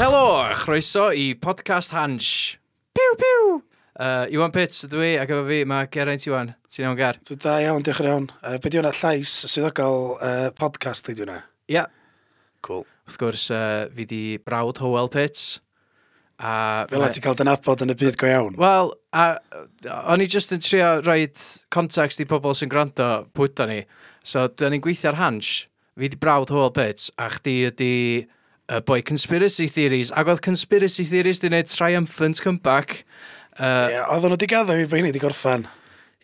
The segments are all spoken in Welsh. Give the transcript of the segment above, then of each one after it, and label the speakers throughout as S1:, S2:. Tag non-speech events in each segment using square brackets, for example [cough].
S1: Helo, a chroeso i podcast Hansh. Piw, piw. Uh, Iwan Pits ydw i, ac efo fi mae Geraint Iwan. Ti'n iawn, Ger?
S2: So, Da iawn, diolch yn iawn. Uh, be di hwnna llais swyddogol uh, podcast ydi hwnna?
S1: Ia.
S2: Cool.
S1: Wrth gwrs, uh, fi di brawd Howell Pits. A,
S2: Fel a ti'n cael dy nabod yn y byd go iawn.
S1: Wel, a, a- o'n i just yn trio rhoi context i pobl sy'n gwrando pwyta ni. So, da ni'n gweithio ar Hansh. Fi di brawd Howell Pits, a chdi ydi uh, boi conspiracy theories. Ac oedd conspiracy theories di wneud triumphant comeback.
S2: Uh,
S1: Uh,
S2: yeah, oedden nhw di gaddo fi bod hynny di gorffan.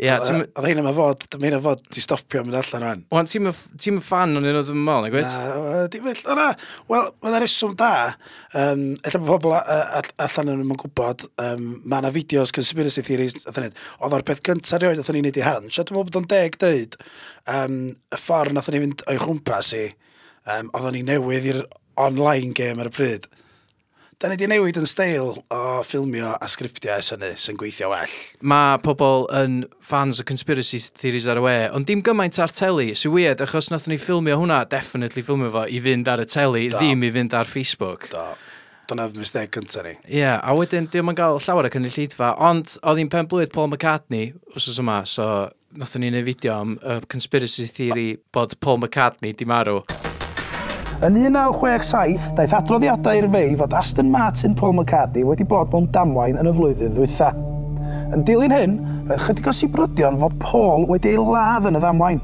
S1: Ia,
S2: Oedd
S1: ti'n...
S2: oedd hynna ma fod, mae hynna fod di stopio yn mynd allan rhan.
S1: Wan, ti'n my- ti'n my fan o'n un o ddim yn mol, neu gwyt?
S2: Na, di fyll, o na, wel, mae yna reswm da. Um, Ella bod pobl a- a- a- allan yn ymwneud gwybod, um, mae yna fideos conspiracy theories, oedd hynny, oedd o'r peth gyntaf rioed oedd hynny'n neud i hans, a dwi'n meddwl bod o'n deg dweud, um, y ffordd nath hynny fynd o'i chwmpas i, um, oedd hynny newydd i'r online game ar y pryd. Da ni di newid yn steil o ffilmio a sgriptiau sy'n sy'n gweithio well.
S1: Mae pobl yn fans o conspiracy theories ar y we, ond dim gymaint ar teli, sy'n weird, achos nath ni ffilmio hwnna, definitely ffilmio fo, i fynd ar y teli,
S2: Do.
S1: ddim i fynd ar Facebook. Ie,
S2: Do, dyna'r mistake gyntaf ni.
S1: yeah, a wedyn, dim yn gael llawer o cynulleidfa, ond oedd hi'n pen blwydd Paul McCartney, wrth yma, so nath ni'n ei fideo am uh, conspiracy theory bod Paul McCartney di marw.
S3: Yn 1967, daeth adroddiadau i'r fei fod Aston Martin Paul McCartney wedi bod mewn damwain yn y flwyddyn ddwytha. Yn dilyn hyn, roedd chydig o sibrodion fod Paul wedi ei ladd yn y ddamwain.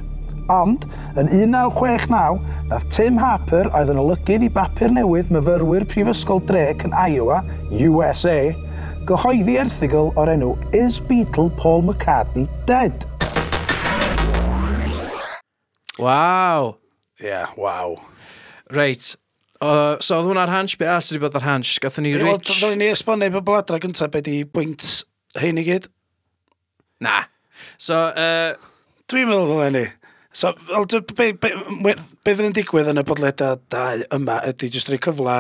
S3: Ond, yn 1969, daeth Tim Harper oedd yn olygydd i bapur newydd myfyrwyr Prifysgol Drake yn Iowa, USA, gyhoeddi erthigol o'r enw Is Beatle Paul McCartney Dead?
S1: Waw!
S2: Ie, yeah, waw.
S1: Reit, uh, so oedd hwnna'r hansh, be as wedi bod ar hansh, gathon ni
S2: Rich. Wel,
S1: rich...
S2: ddylen ni esbonio pobl adra gyntaf be di bwynt hyn i gyd.
S1: Na. So, uh,
S2: Dwi'n meddwl ddylen ni. So, wel, dy- be, be, we- be fydd yn digwydd yn y bodleda dau yma ydy jyst rhoi cyfle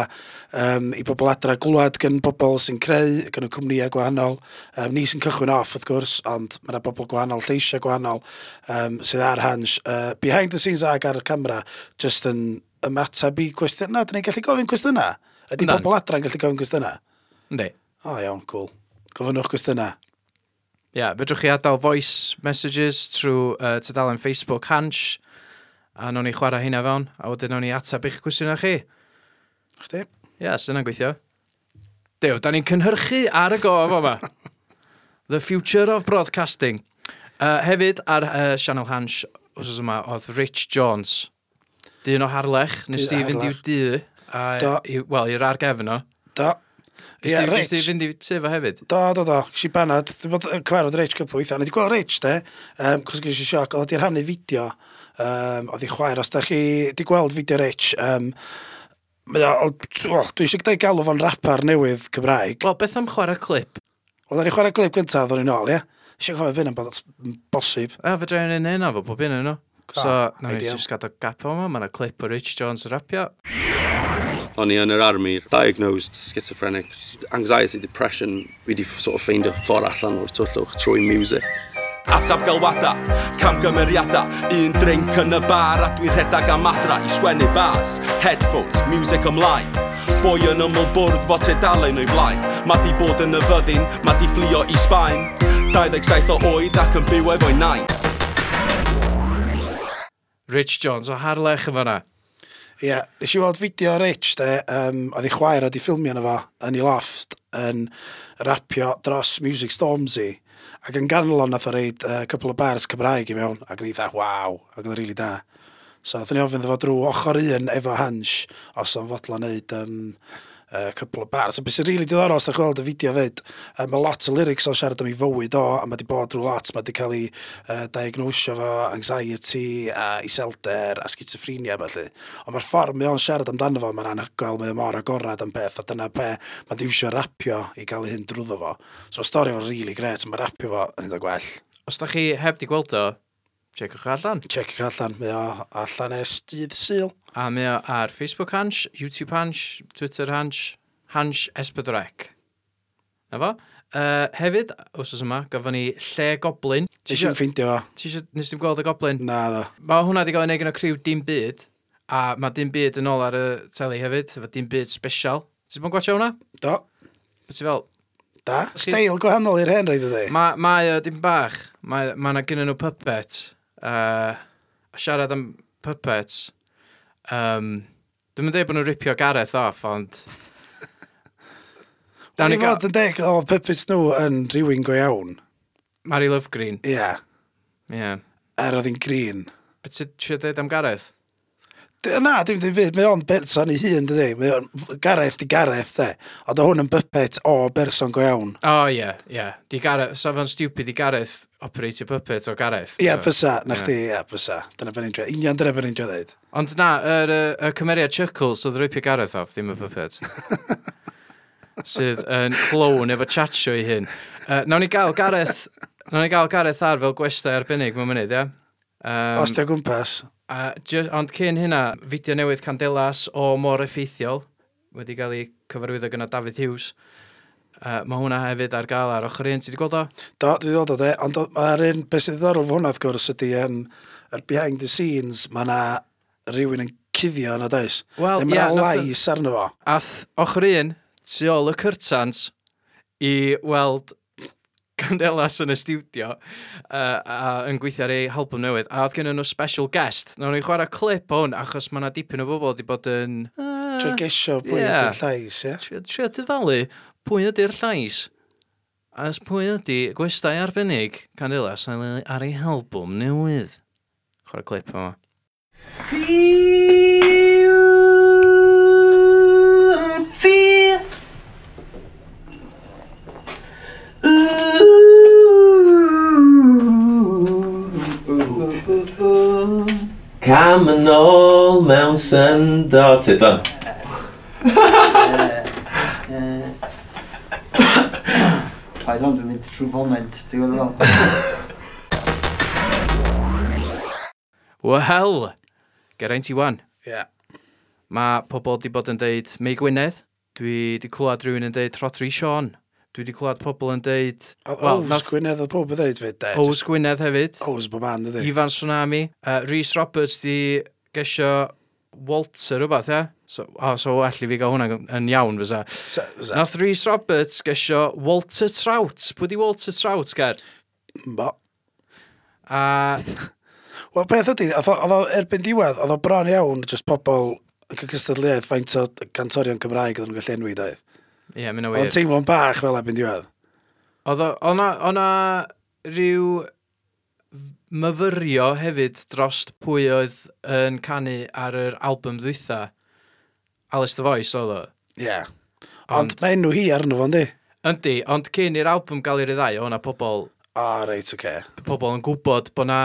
S2: um, i bobl adra glwad gan bobl sy'n creu, gan y cwmnïau gwahanol. Um, ni sy'n cychwyn off, wrth gwrs, ond mae yna bobl gwahanol, lleisiau gwahanol um, sydd ar hans. Uh, behind the scenes ag ar y camera, jyst yn ymateb i cwestiynau. Dyn ni'n gallu gofyn cwestiynau? Ydy
S1: Yndan.
S2: bobl adra'n gallu gofyn cwestiynau?
S1: ynddi.
S2: O, iawn, cool. Gofynnwch cwestiynau.
S1: Ia, yeah, fedrwch chi adael voice messages trwy uh, tydalen Facebook Hansh, a nawn ni chwarae hynna fewn, a wedyn nawn ni ateb eich cwestiynau chi. Ia,
S2: Chdi?
S1: yeah, sy'n gweithio. Dew, da ni'n cynhyrchu ar y gof yma. [laughs] The future of broadcasting. Uh, hefyd ar uh, sianel Hansh, os yma, oedd Rich Jones. Dyn o Harlech, nes
S2: Dyn
S1: di
S2: o
S1: fynd i'w
S2: Harlech.
S1: dŷ, a,
S2: Do.
S1: i- wel, i'r argefn o.
S2: Do.
S1: Nes
S2: Ie,
S1: di- nes di
S2: Rich.
S1: fynd i sefo hefyd?
S2: Do, do, do. Gysi banad. Dwi'n bod yn cyfarfod Rich cwpl o weithiau. Nid i gweld Rich, de. Um, Cos gysi sioc. Oedd i'r hannu fideo. Um, oedd i chwaer. Os da chi di gweld fideo Rich. Um, Mae o, o, dwi eisiau gyda'i galw fo'n rapar newydd Cymraeg.
S1: Wel, beth am chwarae clip?
S2: Oedden ni chwarae glib gyntaf, oedden ni'n ôl, ie? Eisiau cofio byn am bod yn bosib.
S1: A fe drewn yn hynna fo, bob un yn nhw. So,
S2: Ah,
S1: na ni
S2: ideal.
S1: just gadael gap o yma, mae'na clip o Rich Jones yn rapio.
S4: O'n i yn yr army, diagnosed schizophrenic, anxiety, depression. Fi wedi sort of ffeindio ffordd allan o'r twllwch trwy music.
S5: Atab galwada, camgymeriada Un drink yn y bar a dwi'n rhedag am adra i sgwennu bars Headphones, music ymlaen Boi yn ymwyl bwrdd fod tedalen o'i blaen Ma di bod yn y fyddin, ma di fflio i Sbaen 27 o oed ac yn byw efo'i nain
S1: Rich Jones o Harlech yma na.
S2: Ie, yeah, nes i weld fideo Rich, de, um, oedd ei chwaer oedd i ffilmio yna fo yn ei loft yn rapio dros Music Stormzy ac yn ganlon nath o reid uh, cwpl o bars Cymraeg i mewn ac yn eitha, waw, ac yn rili really da. So nath ni ofyn ddefo drwy ochr un efo hans os o'n fodlo wneud um, uh, cwpl o bars. A beth sy'n rili really diddorol os da chi weld y fideo fyd, um, mae lot o lyrics o'n siarad am ei fywyd o, a mae di bod drwy lot, mae di cael ei uh, diagnosio fo anxiety a iselder a schizophrenia felly. Ond mae'r ffordd mae o'n siarad amdano fo, mae'n anhygoel, mae o mor agorad am beth, a dyna be, mae'n diwsio rapio i gael ei hyn drwyddo fo. So y stori fo'n rili really gret, mae rapio fo yn hynod o gwell.
S1: Os da chi heb di gweld o, checwch allan.
S2: Check i allan, mae o allan es dydd syl.
S1: A mae o ar Facebook Hansh, YouTube Hansh, Twitter Hansh, Hansh Esbydrec. Na fo? Uh, hefyd, os oes yma, gafon ni lle goblin. Ti
S2: Nes i'n
S1: isio,
S2: ffeindio fo.
S1: ti isio, nes ti'n gweld y goblin?
S2: Na ddo.
S1: Mae hwnna wedi cael ei wneud gan o criw dim byd, a mae dim byd yn ôl ar y teli hefyd, efo dim byd special. Ti'n bod gwachio hwnna?
S2: Do,
S1: Beth ti'n fel,
S2: da. Steil gwahanol i'r hen rhaid ydy.
S1: Mae ma, o dim bach, mae ma na gynnyn nhw puppet, uh, a siarad am puppets. Um, Dwi'n mynd dweud bod nhw'n ripio Gareth off, ond... Dawn
S2: Dawn
S1: ni
S2: i
S1: gael
S2: fod yn deg, oedd puppets nhw yn rhywun go iawn.
S1: Mary Lovegreen.
S2: Ie, yeah.
S1: Ie. Yeah.
S2: er oedd hi'n green.
S1: Beth ti'n siarad dweud am Gareth?
S2: D- Na, dim dim byd, mae o'n berson i hun, dydy. Mae o'n Gareth di Gareth, de. Ond o hwn yn puppet o berson go iawn.
S1: O, oh, ie, yeah, ie. Yeah. Di Gareth, so fo'n stupid i Gareth operate puppet o Gareth.
S2: Ie,
S1: So-
S2: bysa, na
S1: Ie.
S2: chdi, ie, bysa. Dyna ben i'n dweud. Union dyna ben i'n dweud.
S1: Ond na, yr er, er, cymeriad Chuckles oedd ripio Gareth off, ddim y puppet. sydd yn clown efo chatsio i hyn. Uh, nawn ni gael Gareth, nawn ni gael Gareth ar fel gwestai arbennig mewn munud, ia? Um,
S2: Os ti'n gwmpas,
S1: a, just, ond cyn hynna, fideo newydd Candelas o Mor Effeithiol, wedi cael ei cyfarwyddo gyda Dafydd Hughes. Uh, mae hwnna hefyd ar gael ar ochr un, ti wedi gweld o?
S2: do, dwi ddod o de, ond o- mae'r un beth sydd ddiddorol fo hwnna, wrth gwrs, ydy, um, yr behind the scenes, mae yna rhywun yn cuddio yna, does?
S1: Wel,
S2: Neu
S1: ie,
S2: mae yna
S1: nath y-
S2: lais arno fo.
S1: Ath ochr un, tu ôl y cyrtans, i weld Candelas yn y stiwdio uh, a yn gweithio ar ei album newydd. A oedd gen nhw special guest. Nawr ni chwarae clip o hwn, achos mae yna dipyn o bobl wedi bod yn...
S2: Trwy gesio pwy
S1: Ie.
S2: yeah. ydy'r llais, Ah, ie?
S1: Trio trio dyfalu pwy ydy'r llais. A ys pwy ydy gwestai arbennig Candelas ar ei- ar ei album newydd. Chwarae clip o hwnna.
S6: Cam yn ôl mewn syndod. Tydon.
S7: Paid ond dwi'n mynd trwy foment, ti'n gwybod fel?
S1: Wel, geraint i wan.
S2: Ie.
S1: Mae pobl wedi bod yn deud Mei Gwynedd. Dwi wedi clywed rhywun yn deud Rodri Sean. Dwi wedi clywed pobl yn deud...
S2: Ows Gwynedd oedd pob yn dweud fe, de.
S1: Ows Gwynedd hefyd.
S2: Ows bob man, ydy.
S1: Ifan Tsunami. Uh, Rhys Roberts di gesio Walter rhywbeth, ia? So, oh, so well i fi gael hwnna yn iawn, fysa.
S2: Sa- sa-
S1: Nath Rhys Roberts gesio Walter Trout. Pwy di Walter Trout, ger?
S2: Bo.
S1: A
S2: Wel, beth ydy, oedd o- oedd o erbyn diwedd, oedd o bron iawn, jyst pobl yn cael cystadleuaeth faint o cantorion Cymraeg oedd nhw'n gallu enwi, doedd.
S1: Ie, yeah, mynd o
S2: Oedd o'n
S1: wir.
S2: teimlo'n bach fel erbyn diwedd.
S1: Oedd o- o'na, o'na rhyw myfyrio hefyd drost pwy oedd yn canu ar yr album ddwytha. Alice the Voice oedd o.
S2: Ie. Ond mae enw hi arno fo'n di.
S1: Yndi, ond cyn i'r album gael i'r ddau, o'na pobl,
S2: O, reit, oce. Okay.
S1: pobl yn gwybod bod na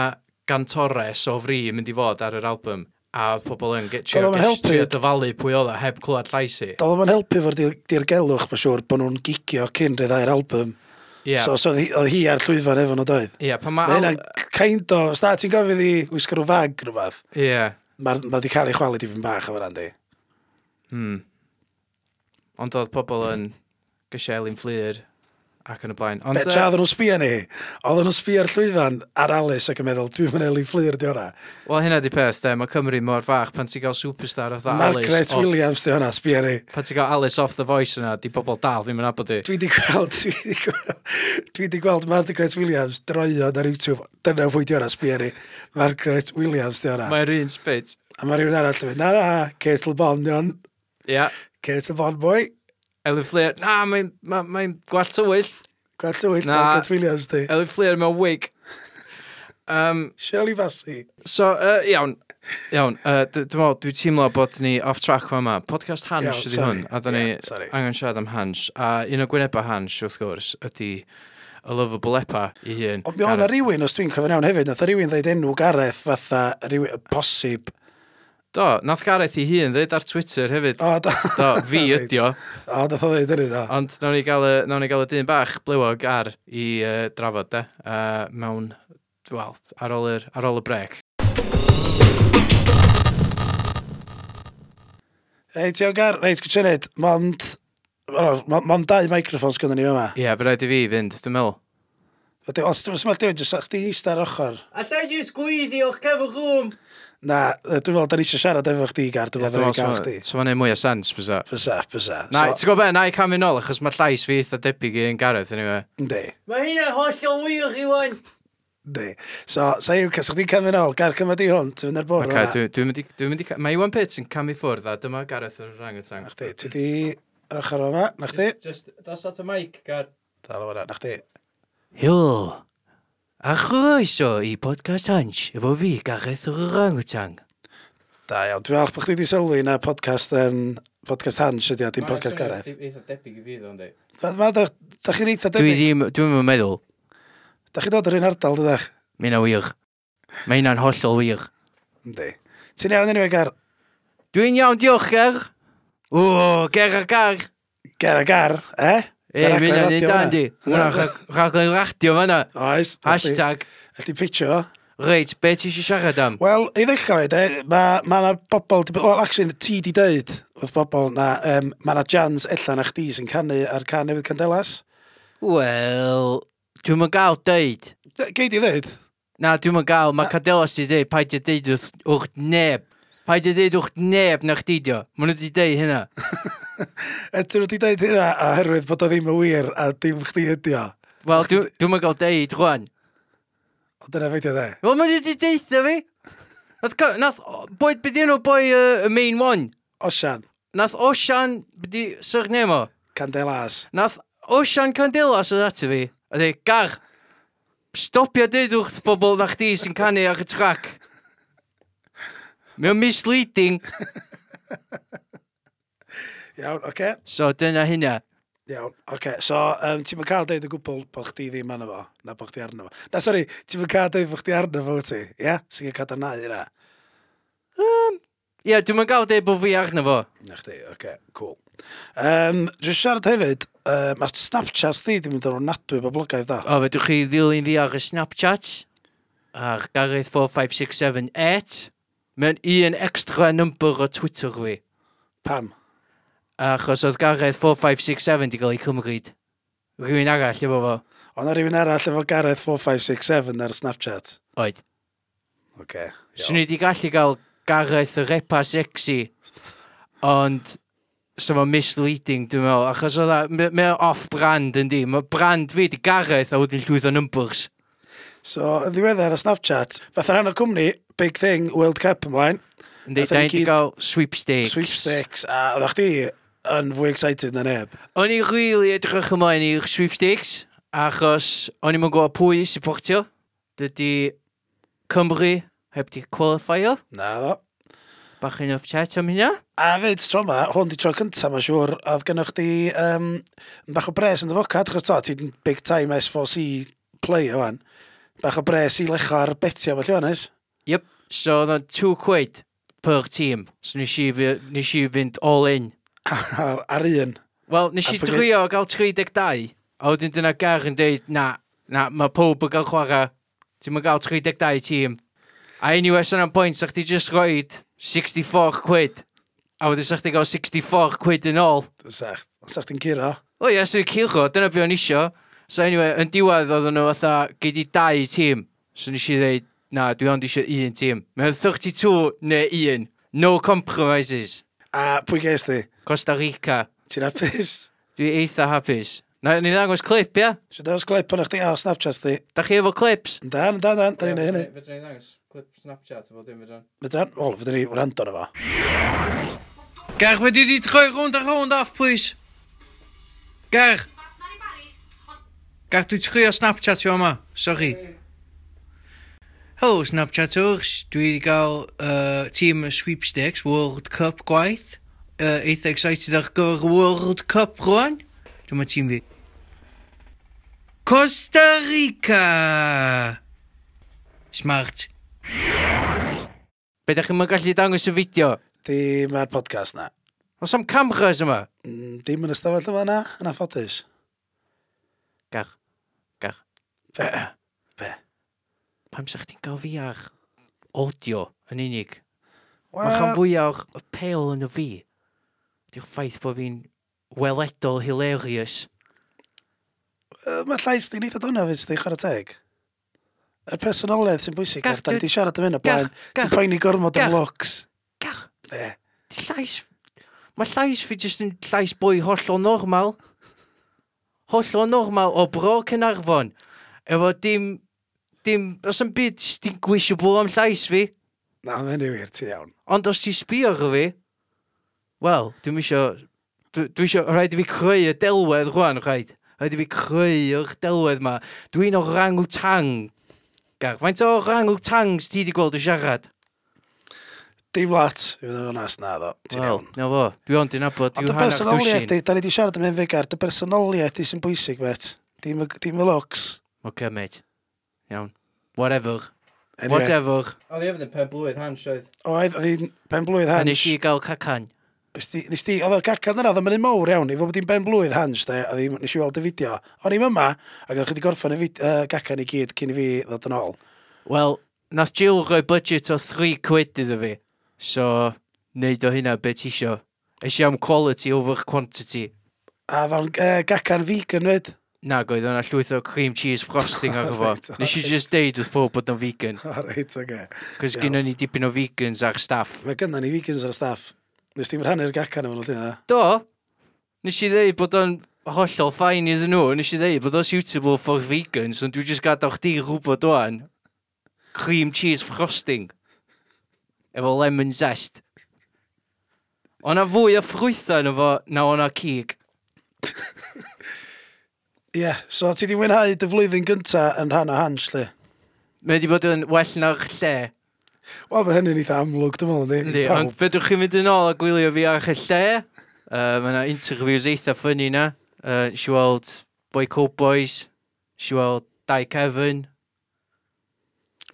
S1: gantores o fri yn mynd i fod ar yr album. A oedd pobl yn get trio
S2: Doedd o'm yn helpu.
S1: trio dyfalu pwy oedd o heb clywed llais i.
S2: Doedd o'n helpu fo'r dir- dirgelwch, mae'n siŵr, bod nhw'n gigio cyn rhaid ar album.
S1: Ie,
S2: Yeah. So, so oedd hi- oedd hi ar llwyfan efo nhw doedd.
S1: Ie, pan mae...
S2: Mae hynna'n kind o, os na ti'n gofyn i wisgo nhw fag rhywbeth,
S1: Ie,
S2: mae ma wedi cael ei chwalu dipyn bach o fan di.
S1: Hmm. ond oedd pobl yn gysiel i'n fflir ac yn y blaen. Ond,
S2: Be,
S1: yy,
S2: tra oedden nhw'n sbio ni, oedden nhw'n sbio ar llwyfan ar Alice ac yn meddwl, dwi'n mynd Eli Fflir di hwnna.
S1: Wel, hynna di peth, de. Mae Cymru mor fach pan ti'n cael superstar oedd Alice.
S2: Margaret
S1: off-
S2: Williams di hwnna, sbio ni.
S1: Pan ti'n cael Alice off the voice yna, di bobl dal ddim yn abod i.
S2: Dwi wedi gweld, [laughs] dwi wedi gweld, dwi wedi gweld Margaret Williams droion ar YouTube. Dyna pwy di hwnna, sbio ni. Margaret Williams di hwnna.
S1: Mae'r un spit.
S2: A mae rhywun arall yn mynd, na na, Cetil Bond di hwn.
S1: Ia.
S2: Cetil Bond boi.
S1: Elin Fleer, na, mae'n ma, ma gwall tywyll.
S2: Gwell tywyll,
S1: Na.
S2: Margaret Williams di.
S1: Elin Fleer mewn wig. Um,
S2: Shirley Fassi.
S1: so, uh, iawn. Iawn, uh, dwi'n meddwl, dwi'n teimlo bod ni off track fan yma. Podcast Hans
S2: Iawn,
S1: ydi
S2: sorry.
S1: hwn, a da ni
S2: Ie, sorry.
S1: angen siarad am Hans. A un o gwynebau Hans, wrth gwrs, ydi y lovable epa i hun.
S2: Ond mi oedd
S1: Gareth.
S2: rhywun, os dwi'n cofyn iawn hefyd, nath rhywun ddeud enw Gareth fatha rhywun, posib.
S1: Do, nath Gareth i hun ddweud ar Twitter hefyd.
S2: O, da. [laughs]
S1: Do, fi ydi o.
S2: O, nath o ddeud hynny, da.
S1: Ond nawn ni gael y, nawn ni gael y dyn bach blywog ar i uh, drafod, de. Uh, mewn, wel, ar ôl, yr, ar ôl y brec.
S2: Ei, ti o'n gar, reit, gwtio nid, mond, wel, ma- mond dau microfons gyda ni fyma.
S1: Ie, yeah, fe rhaid i fi fynd, dwi'n meddwl.
S2: Felly, Os dwi'n smelt dwi'n jyst, a chdi eista ar ochr.
S8: A lle jyst gwyddi o'ch cefn gwm?
S2: Na, yy, dwi'n meddwl, da ni eisiau siarad efo chdi, Gar, dwi'n meddwl, da ni'n gael chdi.
S1: So mae'n neud mwy o sens, bysa.
S2: Fysa, fysa.
S1: Na,
S2: So-
S1: ti'n gwybod be, na i cam i nôl, achos mae'r llais fi eitha debyg i'n Gareth, anyway.
S2: Yndi,
S8: Mae hynna'n hollol wir i wan.
S2: yndi. So, sa i'w cas, chdi'n cam yn ôl, Gar, cymryd i hwn, ti'n fynd ar bwrdd.
S1: Ac dwi'n mynd i... Dwi mynd i ca- mae Iwan Pits yn cam i ffwrdd, a dyma Gareth yr rang y tang.
S2: Na chdi, ti di yr ochr o'ma, na chdi?
S1: Just, dos at y mic, Gar.
S2: Dal o'na, na chdi.
S1: Helo. A chroeso i podcast Hunch, efo fi, Gareth yr rang y tang.
S2: Da iawn, dwi'n falch bod chdi di sylwi na podcast, um, podcast Hans ydi o, dim podcast Gareth.
S1: Eitha debyg i e. fi, ddo'n dweud.
S2: Da, ma, da, da chi'n eitha
S1: Dwi
S2: debyg.
S1: ddim, dwi'n yn meddwl,
S2: Da chi'n dod yr un ardal, dydach?
S1: mae'n wir. Mae hynna'n hollol wir.
S2: Yndi. Ti'n iawn anyway, Gar?
S1: Dwi'n iawn, diolch, Ger. O, Ger a Gar.
S2: Gar a Gar, eh?
S1: E,
S2: Yr
S1: mae
S2: aglen
S1: hynna'n
S2: radio
S1: ei
S2: fan'na.
S1: dandi. Mae'n rhaglen radio fanna.
S2: Oes. da chdi-
S1: Hashtag,
S2: Ydi picture o.
S1: reit, be ti eisiau siarad am?
S2: Wel, i ddechrau fyd, eh, mae ma na bobl, di- wel, actually, ti di dweud wrth bobl na, um, mae na jans ella na chdi sy'n canu ar can newydd Candelas.
S1: Wel, dwi'n mynd gael deud.
S2: D- Gei di ddeud?
S1: Na, dwi'n mynd gael, mae Cadelas i ddeud, paid i ddeud wrth, wrth neb. Paid i ddeud wrth neb na chdi dio. Mae nhw wedi deud hynna.
S2: Ydyn nhw di dweud hynna oherwydd bod o ddim yn wir a dim chdi ydi o.
S1: Wel, dwi- dwi'n mynd gael deud rwan.
S2: Ond dyna fe di dde.
S1: Wel, mae wedi deitha fi. Nath, go- nath o- boi, beth yw boi yy, y main one?
S2: Osian,
S1: Nath Osian, beth yw surname o?
S2: Candelas.
S1: Nath Osian Candelas oedd ati fi. A dweud, gar, stopio dweud wrth bobl na chdi sy'n canu ar y trac. Mae o'n misleading.
S2: Iawn, oce. Okay.
S1: So, dyna hynna.
S2: Iawn, oce. Okay. So, um, ti'n mynd cael deud y gwbl bod chdi ddim arno fo, na bod chdi arno fo. Na, sori, ti'n mynd cael deud bod chdi arno fo, wyt ti? Ia? Yeah? Sy'n cael cadarnau yna.
S1: Ie, yeah, dwi'n gael dweud bod fi arno fo.
S2: Na chdi, oce, okay, cool. Um, Dwi'n siarad hefyd, uh, mae Snapchat di wedi mynd o'r nadwy boblogaeth da.
S1: O, fedrwch chi ddilyn fi ar y Snapchat, ar Gareth 45678, mewn un extra number o Twitter fi.
S2: Pam?
S1: Achos oedd Gareth 4567 di gael ei cymryd. Rwy'n arall efo fo.
S2: Ond na rhywun arall efo Gareth 4567 ar Snapchat.
S1: Oed.
S2: Oce. Okay,
S1: Swn i di gallu gael Gareth y repa sexy, ond so mae'n misleading dwi'n meddwl, achos oedd a- mae mae o off-brand yndi, mae brand fi di Gareth a wedyn llwyth o numbers.
S2: So, yn ddiweddar ar Snapchat, fath ar rhan o cwmni, big thing, World Cup ymlaen,
S1: Yndi,
S2: Nathon
S1: da
S2: ni
S1: ni di
S2: gyd-
S1: gael sweepstakes.
S2: sweepstakes, a oedd chdi yn fwy excited na neb.
S1: O'n i'n rili edrych ymlaen i'r sweepstakes, achos o'n i'n gwybod pwy i supportio. Dydy Cymru heb di qualifier,
S2: Na ddo.
S1: bach yn upset am hynna.
S2: A fyd, tro ma, hwn di tro cynta, mae'n siŵr, oedd gennych chdi um, bach o bres yn ddyfocad, chos to, ti'n big time S4C player o'n. Bach o bres i lechar betio, felly o'n es.
S1: Yep. So oedd o'n 2 quid per tîm. So nes i, fy- nes i fynd all in.
S2: Ar ar un.
S1: Wel, nes
S2: A
S1: i
S2: pwy-
S1: drio gael 32. A wedyn dyna gar yn dweud, na, na, mae pob yn cael chwarae. Ti'n mynd gael 32 tîm. A anyway, sy'n am pwynt, sa'ch ti just roed 64 quid. A wedyn sa'ch ti gael 64 quid yn ôl.
S2: Sa'ch, sa'ch ti'n curo.
S1: O ie, sy'n curo, dyna be o'n isio. So anyway, yn diwedd oedden nhw fatha, gei di dau tîm. So nes i ddeud, na, dwi ond isio un tîm. Mae'n 32 neu un. No compromises.
S2: A pwy ges di?
S1: Costa Rica.
S2: Ti'n apus?
S1: Dwi eitha hapus. Na, ni'n dangos clip, ia?
S2: Siw dangos clip o'n chdi o Snapchat di.
S1: Da chi efo clips?
S2: Dan, dan, dan, dan ni'n neud hynny.
S1: Fydra ni'n dangos clip Snapchat efo dim fydra.
S2: Fydran, wel, fydden ni wrando na fo.
S1: Ger, fe di di troi rownd a rownd off, please. Ger. Ger, dwi trio Snapchat yw yma. Sorry. Helo, Snapchatwrs. Dwi wedi gael uh, tîm y sweepstakes World Cup gwaith. Uh, eitha excited ar gyfer World Cup rwan. Dyma tîm fi. Costa Rica! Smart. Be da chi'n gallu dangos y fideo?
S2: Di mae'r podcast na.
S1: Os am cameras yma?
S2: Mm, Dim yn ystafell yma na, yn affodus.
S1: Gach. Gach.
S2: Be? Be?
S1: Pam sa'ch ti'n gael fi ar audio yn unig? Mae chan
S2: Wel,
S1: fwyaf o'r pale yn y fi. Di'r ffaith bod fi'n weledol hilarious.
S2: yy, mae llais di'n eitha dyna fyd, di chwarae teg. y personoledd sy'n bwysig
S1: Gach,
S2: ar dan,
S1: dwi-
S2: di siarad am hyn o
S1: Gach,
S2: blaen, ti'n
S1: gach,
S2: poeni gormod am
S1: gach.
S2: looks.
S1: Gach,
S2: Ne.
S1: di llais... Mae llais fi jyst yn llais bwy holl o normal. Holl o normal o bro Cynarfon. Efo dim... Dim... Os yn byd distinguishable am llais fi.
S2: Na, mae hynny wir, ti'n iawn.
S1: Ond os ti sbio ar fi... Wel, dwi'n isio... Dwi dwi isio... Rhaid i fi creu y delwedd rwan, rhaid. Rhaid i fi creu'r delwedd ma. Dwi'n o rang tang. Gar, faint o rang tangs ti di gweld y siarad?
S2: Dim lat, i fod yn onas na ddo, ti'n
S1: Wel,
S2: iawn.
S1: na fo. Dwi ond yn abod,
S2: Ond
S1: dwi'n
S2: dy
S1: hanner
S2: personoliaeth
S1: dwsin.
S2: di, da ni di siarad am hyn fegar, dy personoliaeth di sy'n bwysig, bet. Dim y dim y looks.
S1: Ok, mate. Iawn. Whatever.
S2: Anyway,
S1: Whatever. Oedd i efo ddim pen blwydd hans oedd.
S2: Oedd, oedd hi'n ben blwydd
S1: A
S2: hans.
S1: nes i gael cacan.
S2: Nes di, nes di, oedd y cacan yna, oedd yn mynd mawr iawn, i fod bod hi'n ben blwydd hans, de, oedd hi'n nes i weld y fideo. O'n i'n yma, ac oedd chi wedi gorffen y fid- yy, cacan i gyd cyn i fi ddod yn ôl.
S1: Wel, nath Jill roi budget o 3 quid iddo fi. So, neud o hynna beth isio. Eisiau am quality over quantity.
S2: A oedd o'n uh, gacan vegan, fyd.
S1: Na, goedd o'na llwyth o cream cheese frosting ar efo.
S2: Alright,
S1: Nes i just deud wrth pob bod o'n vegan.
S2: [laughs] O, reit, oge.
S1: Cos
S2: Iawn.
S1: gyn ni dipyn o vegans ar staff.
S2: Mae gynna ni vegans ar y staff. Nes ti'n rhannu'r gacan yma, oedd hynna.
S1: Do, nes i ddeud bod o'n hollol ffain iddyn nhw. Nes i ddeud bod o'n suitable for vegans, ond dwi'n just gadael chdi rhywbod o'n cream cheese frosting. Efo lemon zest. O'na fwy o ffrwythau yn efo na o'na cig.
S2: Ie, yeah, so ti di wynhau dy flwyddyn gynta yn rhan o hans, lle.
S1: Mae wedi bod yn well na'r lle.
S2: Wel, mae hynny'n eitha amlwg, dwi'n meddwl,
S1: Yndi,
S2: yndi?
S1: ond
S2: Pawb.
S1: fedrwch chi mynd yn ôl a gwylio fi ar y lle. Uh, mae yna interviews eitha ffynnu na. Uh, si weld Boy Cold Boys, si weld Dai Kevin.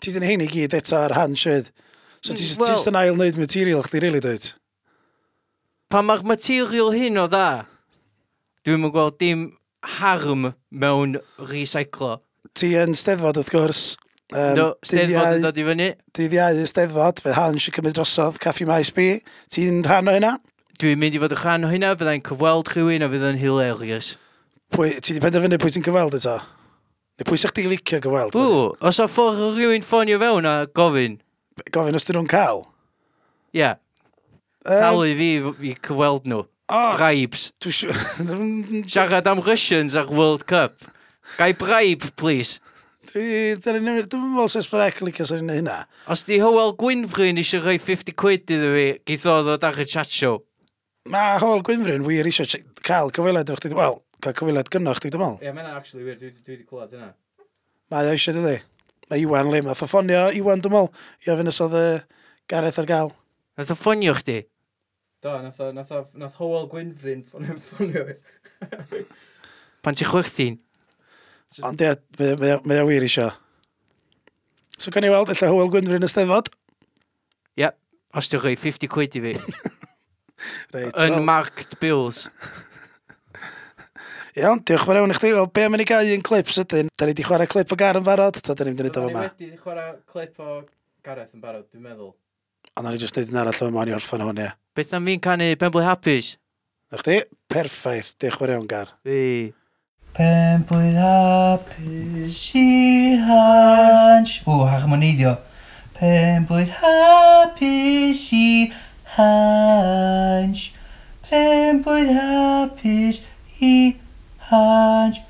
S2: Ti di'n hyn i gyd eto ar hans, fyd. So ti
S1: Wel-
S2: well, yn ail wneud material, chdi, really, dweud?
S1: Pan mae'r material hyn o dda, dwi'n yn gweld dim harm mewn recyclo.
S2: Ti yn steddfod, wrth gwrs. Um,
S1: Um, Do, Steddfod yn dod i fyny.
S2: Dydd iau y steddfod, fe Hans i cymryd drosodd Caffi Maes B. Ti'n rhan o hynna?
S1: Dwi'n mynd i fod yn rhan o hynna, fyddai'n cyfweld rhywun a fydd yn hilarious.
S2: Pwy, ti di penderfynu pwy ti'n gyfweld eto? Neu pwy sa'ch di licio gyfweld?
S1: Ww, os o ffordd o rhywun ffonio fewn a gofyn,
S2: Gofyn os dyn nhw'n cael.
S1: ie, yeah, talu fi i cyfweld nhw.
S2: Oh,
S1: Bribes.
S2: dwi [laughs] siw...
S1: Siarad am Russians ar World Cup. Gai bribe, please.
S2: Dwi'n meddwl sy'n sbrec licio sy'n ei hynna.
S1: Os di Hywel Gwynfrin eisiau rhoi 50 quid iddo fi, geith o ddod ar y chat show.
S2: Mae Hywel Gwynfrin wir eisiau tsi- cael cyfweliad efo chdi. Wel, cael cyfweliad gynno chdi, dwi'n meddwl.
S1: Ie, yeah, mae'n actually weird, dwi wedi clywed yna.
S2: Mae o eisiau, dydi? Mae Iwan le, mae ffonio Iwan, dwi'n meddwl, i ofyn os oedd y Gareth ar gael.
S1: Nath o ffonio chdi?
S9: Do, nath, o- nath, o- nath Howell Gwynfrin ffonio [laughs] ffonio fi.
S1: Pan ti'n chwerthin?
S2: Ond ie, mae- mae o- mae o wir eisiau. So gan i weld, efallai Hywel Gwynfrin y steddfod.
S1: Ie, yep. os ti'n rhoi 50 quid i fi.
S2: Reit, wel,
S1: Unmarked bills.
S2: Iawn, diolch yn fawr iawn i chdi. Wel, be am i ni gael un clip sydyn? Da ni wedi chwarae clip o gar yn barod, ta da ni'n mynd i
S9: Oedden ni
S2: wneud o yma.
S9: wedi chwarae clip o Gareth yn barod, dwi'n meddwl.
S2: Ond o'n i jyst neud yn arall o'n i orffan hwn, ie.
S1: Beth am fi'n canu Pemble Happys?
S2: Na chdi? Perffaith, diolch yn fawr iawn gar.
S1: Fi.
S8: Pemblwydd hapus i hans. O, harmoneidio. Pemblwydd hapus i hans. Pemblwydd hapus i hans.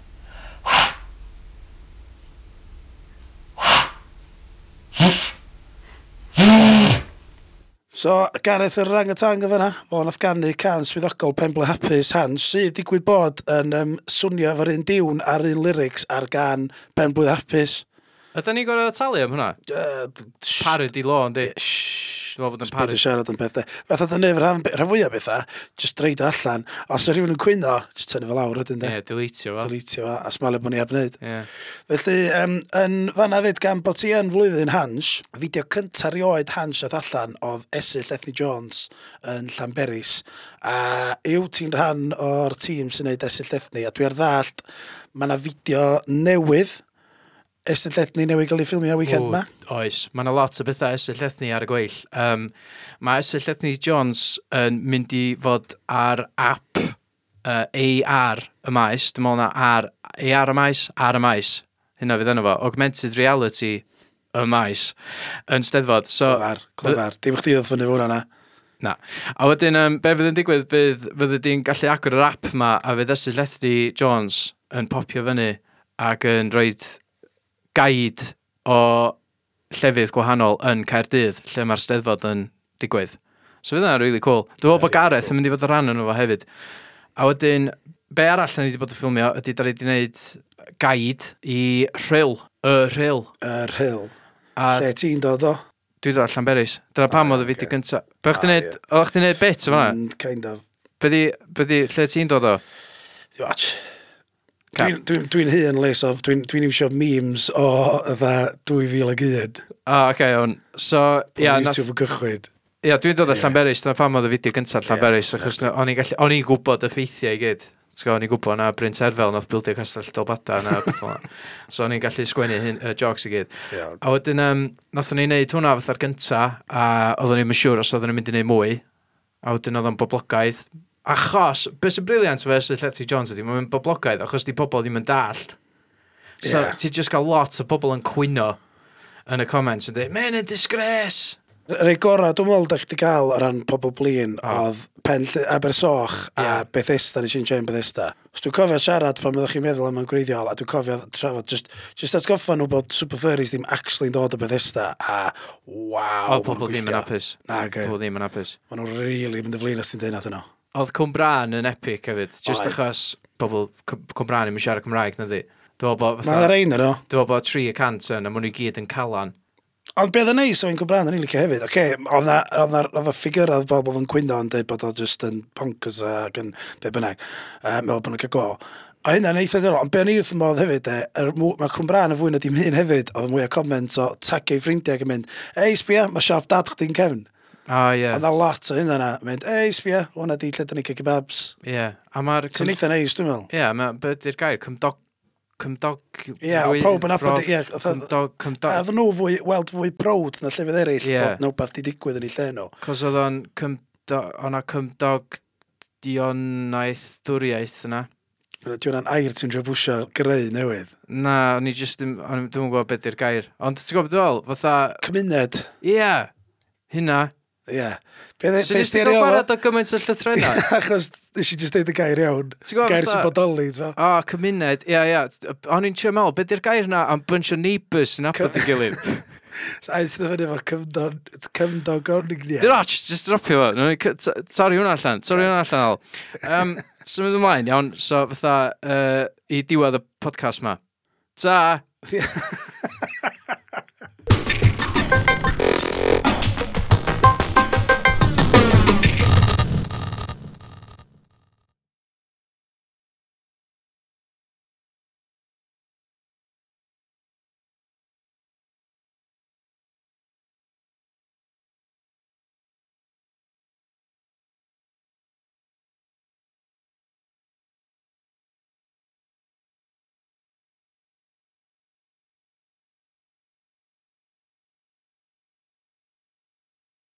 S2: So, Gareth yr rang y tang o fyna, o nath gannu can swyddogol Pemble Hapus Hans, sydd digwydd bod yn um, swnio efo'r un diwn a'r un lyrics ar gan Pemble Hapus.
S1: Ydy'n ni gorau talu am hwnna?
S2: Uh,
S1: Parody law, yndi?
S2: Dwi'n
S1: meddwl bod yn parod.
S2: siarad yn pethau. Fath oedd yn nefyd rhan, rhan fwyaf bethau, jyst dreid o allan. Os yw rhywun yn cwyno, jyst tynnu fel awr ydyn, de.
S1: Ie, deleteio fo.
S2: Deletio a, a smalio bod ni heb wneud.
S1: Ie.
S2: Felly, um, yn fanna fyd gan bod ti yn flwyddyn Hans, fideo cyntaf rioed Hans oedd allan oedd Esyll Ethni Jones yn Llanberis. A yw ti'n rhan o'r tîm sy'n neud Esyll Ethni, a dwi ar ddallt, mae yna fideo newydd, Esyll Ethni newydd gael ei ffilmio y weekend
S1: Ww,
S2: yma.
S1: Oes, mae yna lot o bethau Esyll Ethni ar y gweill. Um, mae Esyll Ethni Jones yn mynd i fod ar app uh, AR y maes. Dwi'n meddwl na AR, AR y maes, AR y maes. Hynna fydd yna fo. Augmented Reality y maes yn steddfod. So,
S2: Clyfar, clyfar. Dim chdi oedd fyny fwna na.
S1: Na. A wedyn, um, be fydd yn digwydd, bydd, fyddi di'n gallu agor yr app ma a fydd Esyd Lethdy Jones yn popio fyny ac yn rhoi gaid o llefydd gwahanol yn Caerdydd, lle mae'r steddfod yn digwydd. So fydd yna'n really cool. Dwi'n meddwl bod Gareth yn mynd i fod yn rhan yn efo hefyd. A wedyn, be arall na ni wedi bod yn ffilmio ydy da ni wedi gwneud gaid i rhyl, y rhyl.
S2: Yr hill.
S1: A
S2: Lle ti'n dod o?
S1: dwi ddod allan berys. Dyna pam oedd y fideo gyntaf. Be o'ch ti'n neud, oedd chdi'n neud bit yma?
S2: Mm, Kind of.
S1: Byddi, byddi, lle ti'n dod o?
S2: Dwi'n watch.
S1: Ca-
S2: Dwi'n dwi, dwi hun les o, dwi'n dwi iwsio memes o dda 2001.
S1: O, oce, Ah, iawn. So, ia,
S2: Yeah,
S1: nath-
S2: YouTube yn cychwyn.
S1: ia, dwi'n dod o Llanberis, dyna pam oedd y fideo gyntaf Llanberis, achos na- o'n i'n gallu- o'n i'n gwybod y ffeithiau i gyd. T'go, O'n i'n gwybod na Bryn Terfel, nath bildio Castell Dolbata, na beth fel 'na. So o'n i'n gallu sgwennu hyn, y jogs i gyd.
S2: Iawn.
S1: A wedyn, um, nathon ni wneud hwnna fatha'r gynta, a oedden ni'n siŵr os oedden ni'n mynd i wneud mwy, a wedyn oedd o'n boblogaidd. Achos, beth sy'n briliant fe sy'n Llethy Jones ydy, mae'n boblogaidd, achos di pobl ddim yn dallt. So,
S2: Ie.
S1: yeah. ti'n just gael lot o bobl yn cwyno yn y comments yn dweud, mae'n y disgres!
S2: Yr ei gorau, dwi'n meddwl da chdi gael o ran pobl blin oedd pen Lly- Abersoch a
S1: Ie.
S2: Bethesda, nes i'n chain Bethesda. Os dwi'n cofio siarad pan byddwch chi'n meddwl am yn gwreiddiol, a dwi'n cofio trafod, just, just atgoffa nhw bod Super Furries ddim actually'n dod o Bethesda, a waw,
S1: O, pobl ddim yn hapus.
S2: Nag, e.
S1: Pobl ddim yn hapus.
S2: maen nhw'n really mynd y flin os ti'n dweud nath nhw.
S1: Oedd Cwmbran yn epic hefyd, just
S2: Oedd.
S1: achos pobl Cw- Cwmbran ddim yn siarad Cymraeg, na di. Dwi'n meddwl bod
S2: Mae'n
S1: fatha-
S2: rhain yno.
S1: dwi'n meddwl bod 3 y cant yn, a maen nhw i gyd yn calan.
S2: Ond beth yn neis o'n Cwbran, o'n i'n licio hefyd. Oce, okay, oedd na, oedd na, oedd na ffigurau oedd bobl yn cwyno yn dweud bod o just yn bonkers ac yn be bynnag. Uh, meddwl bod nhw'n cael go. A hynna'n eitha ddiddorol. Ond beth yn wrth modd hefyd, e, er, mae Cwbran yn fwy na dim hyn hefyd. Oedd mwy o comment o tagio i ffrindiau ac yn mynd, ei, sbia, mae siop dad chdi'n cefn.
S1: A ie,
S2: Oedd na lot o hynna na. Mynd, ei, sbia, hwnna di lle dyn ni'n cael kebabs.
S1: ie. A mae'r...
S2: Sy'n eitha neis, dwi'n meddwl.
S1: Ie, yeah, mae byddi'r gair, cymdog... Cymdog...
S2: Ie, o,
S1: rwy-
S2: pawb yn nabod-
S1: brof-
S2: ie, fatha-
S1: Cymdog...
S2: A
S1: Cymdog...
S2: oedd nhw fwy, weld fwy browd na llefydd eraill
S1: Ie.
S2: bod nhw beth di digwydd yn ei lle nhw.
S1: Cos oedd o'n cymdog... O'na cymdog dionaeth dwriaeth yna.
S2: Dwi'n hwnna'n air ti'n rhywbeth bwysio greu newydd.
S1: Na, o'n i jyst ddim... o'n i- Dwi'm yn gwybod beth yw'r gair. Ond ti'n gwybod ddol? Fatha...
S2: Cymuned.
S1: Ie, yeah, hynna.
S2: Ie. Be dde-
S1: Swn
S2: be
S1: i
S2: sdi
S1: ddim yn
S2: ar ei
S1: gwarad
S2: ofo?
S1: o gymaint o llythrenau.
S2: Achos nes i just deud y gair iawn.
S1: Ti'n gwbod,
S2: Gair
S1: fatha-
S2: sy'n bodoli, ti'n fa?
S1: [laughs] O, cymuned, ie, ie. O'n i'n siarad meddwl, beth yw'r gair na am bunch o neighbours yn apod i [laughs] gilydd?
S2: Aeth sydd fyny efo cymdon, cymdog
S1: Dyr
S2: orniglia.
S1: och, just dropio fo. Nawn ni c- t- Torri hwnna allan. Torri hwnna allan al. Um, [laughs] Symud ymlaen, iawn. So, fatha, uh, i diwedd y podcast ma. Ta!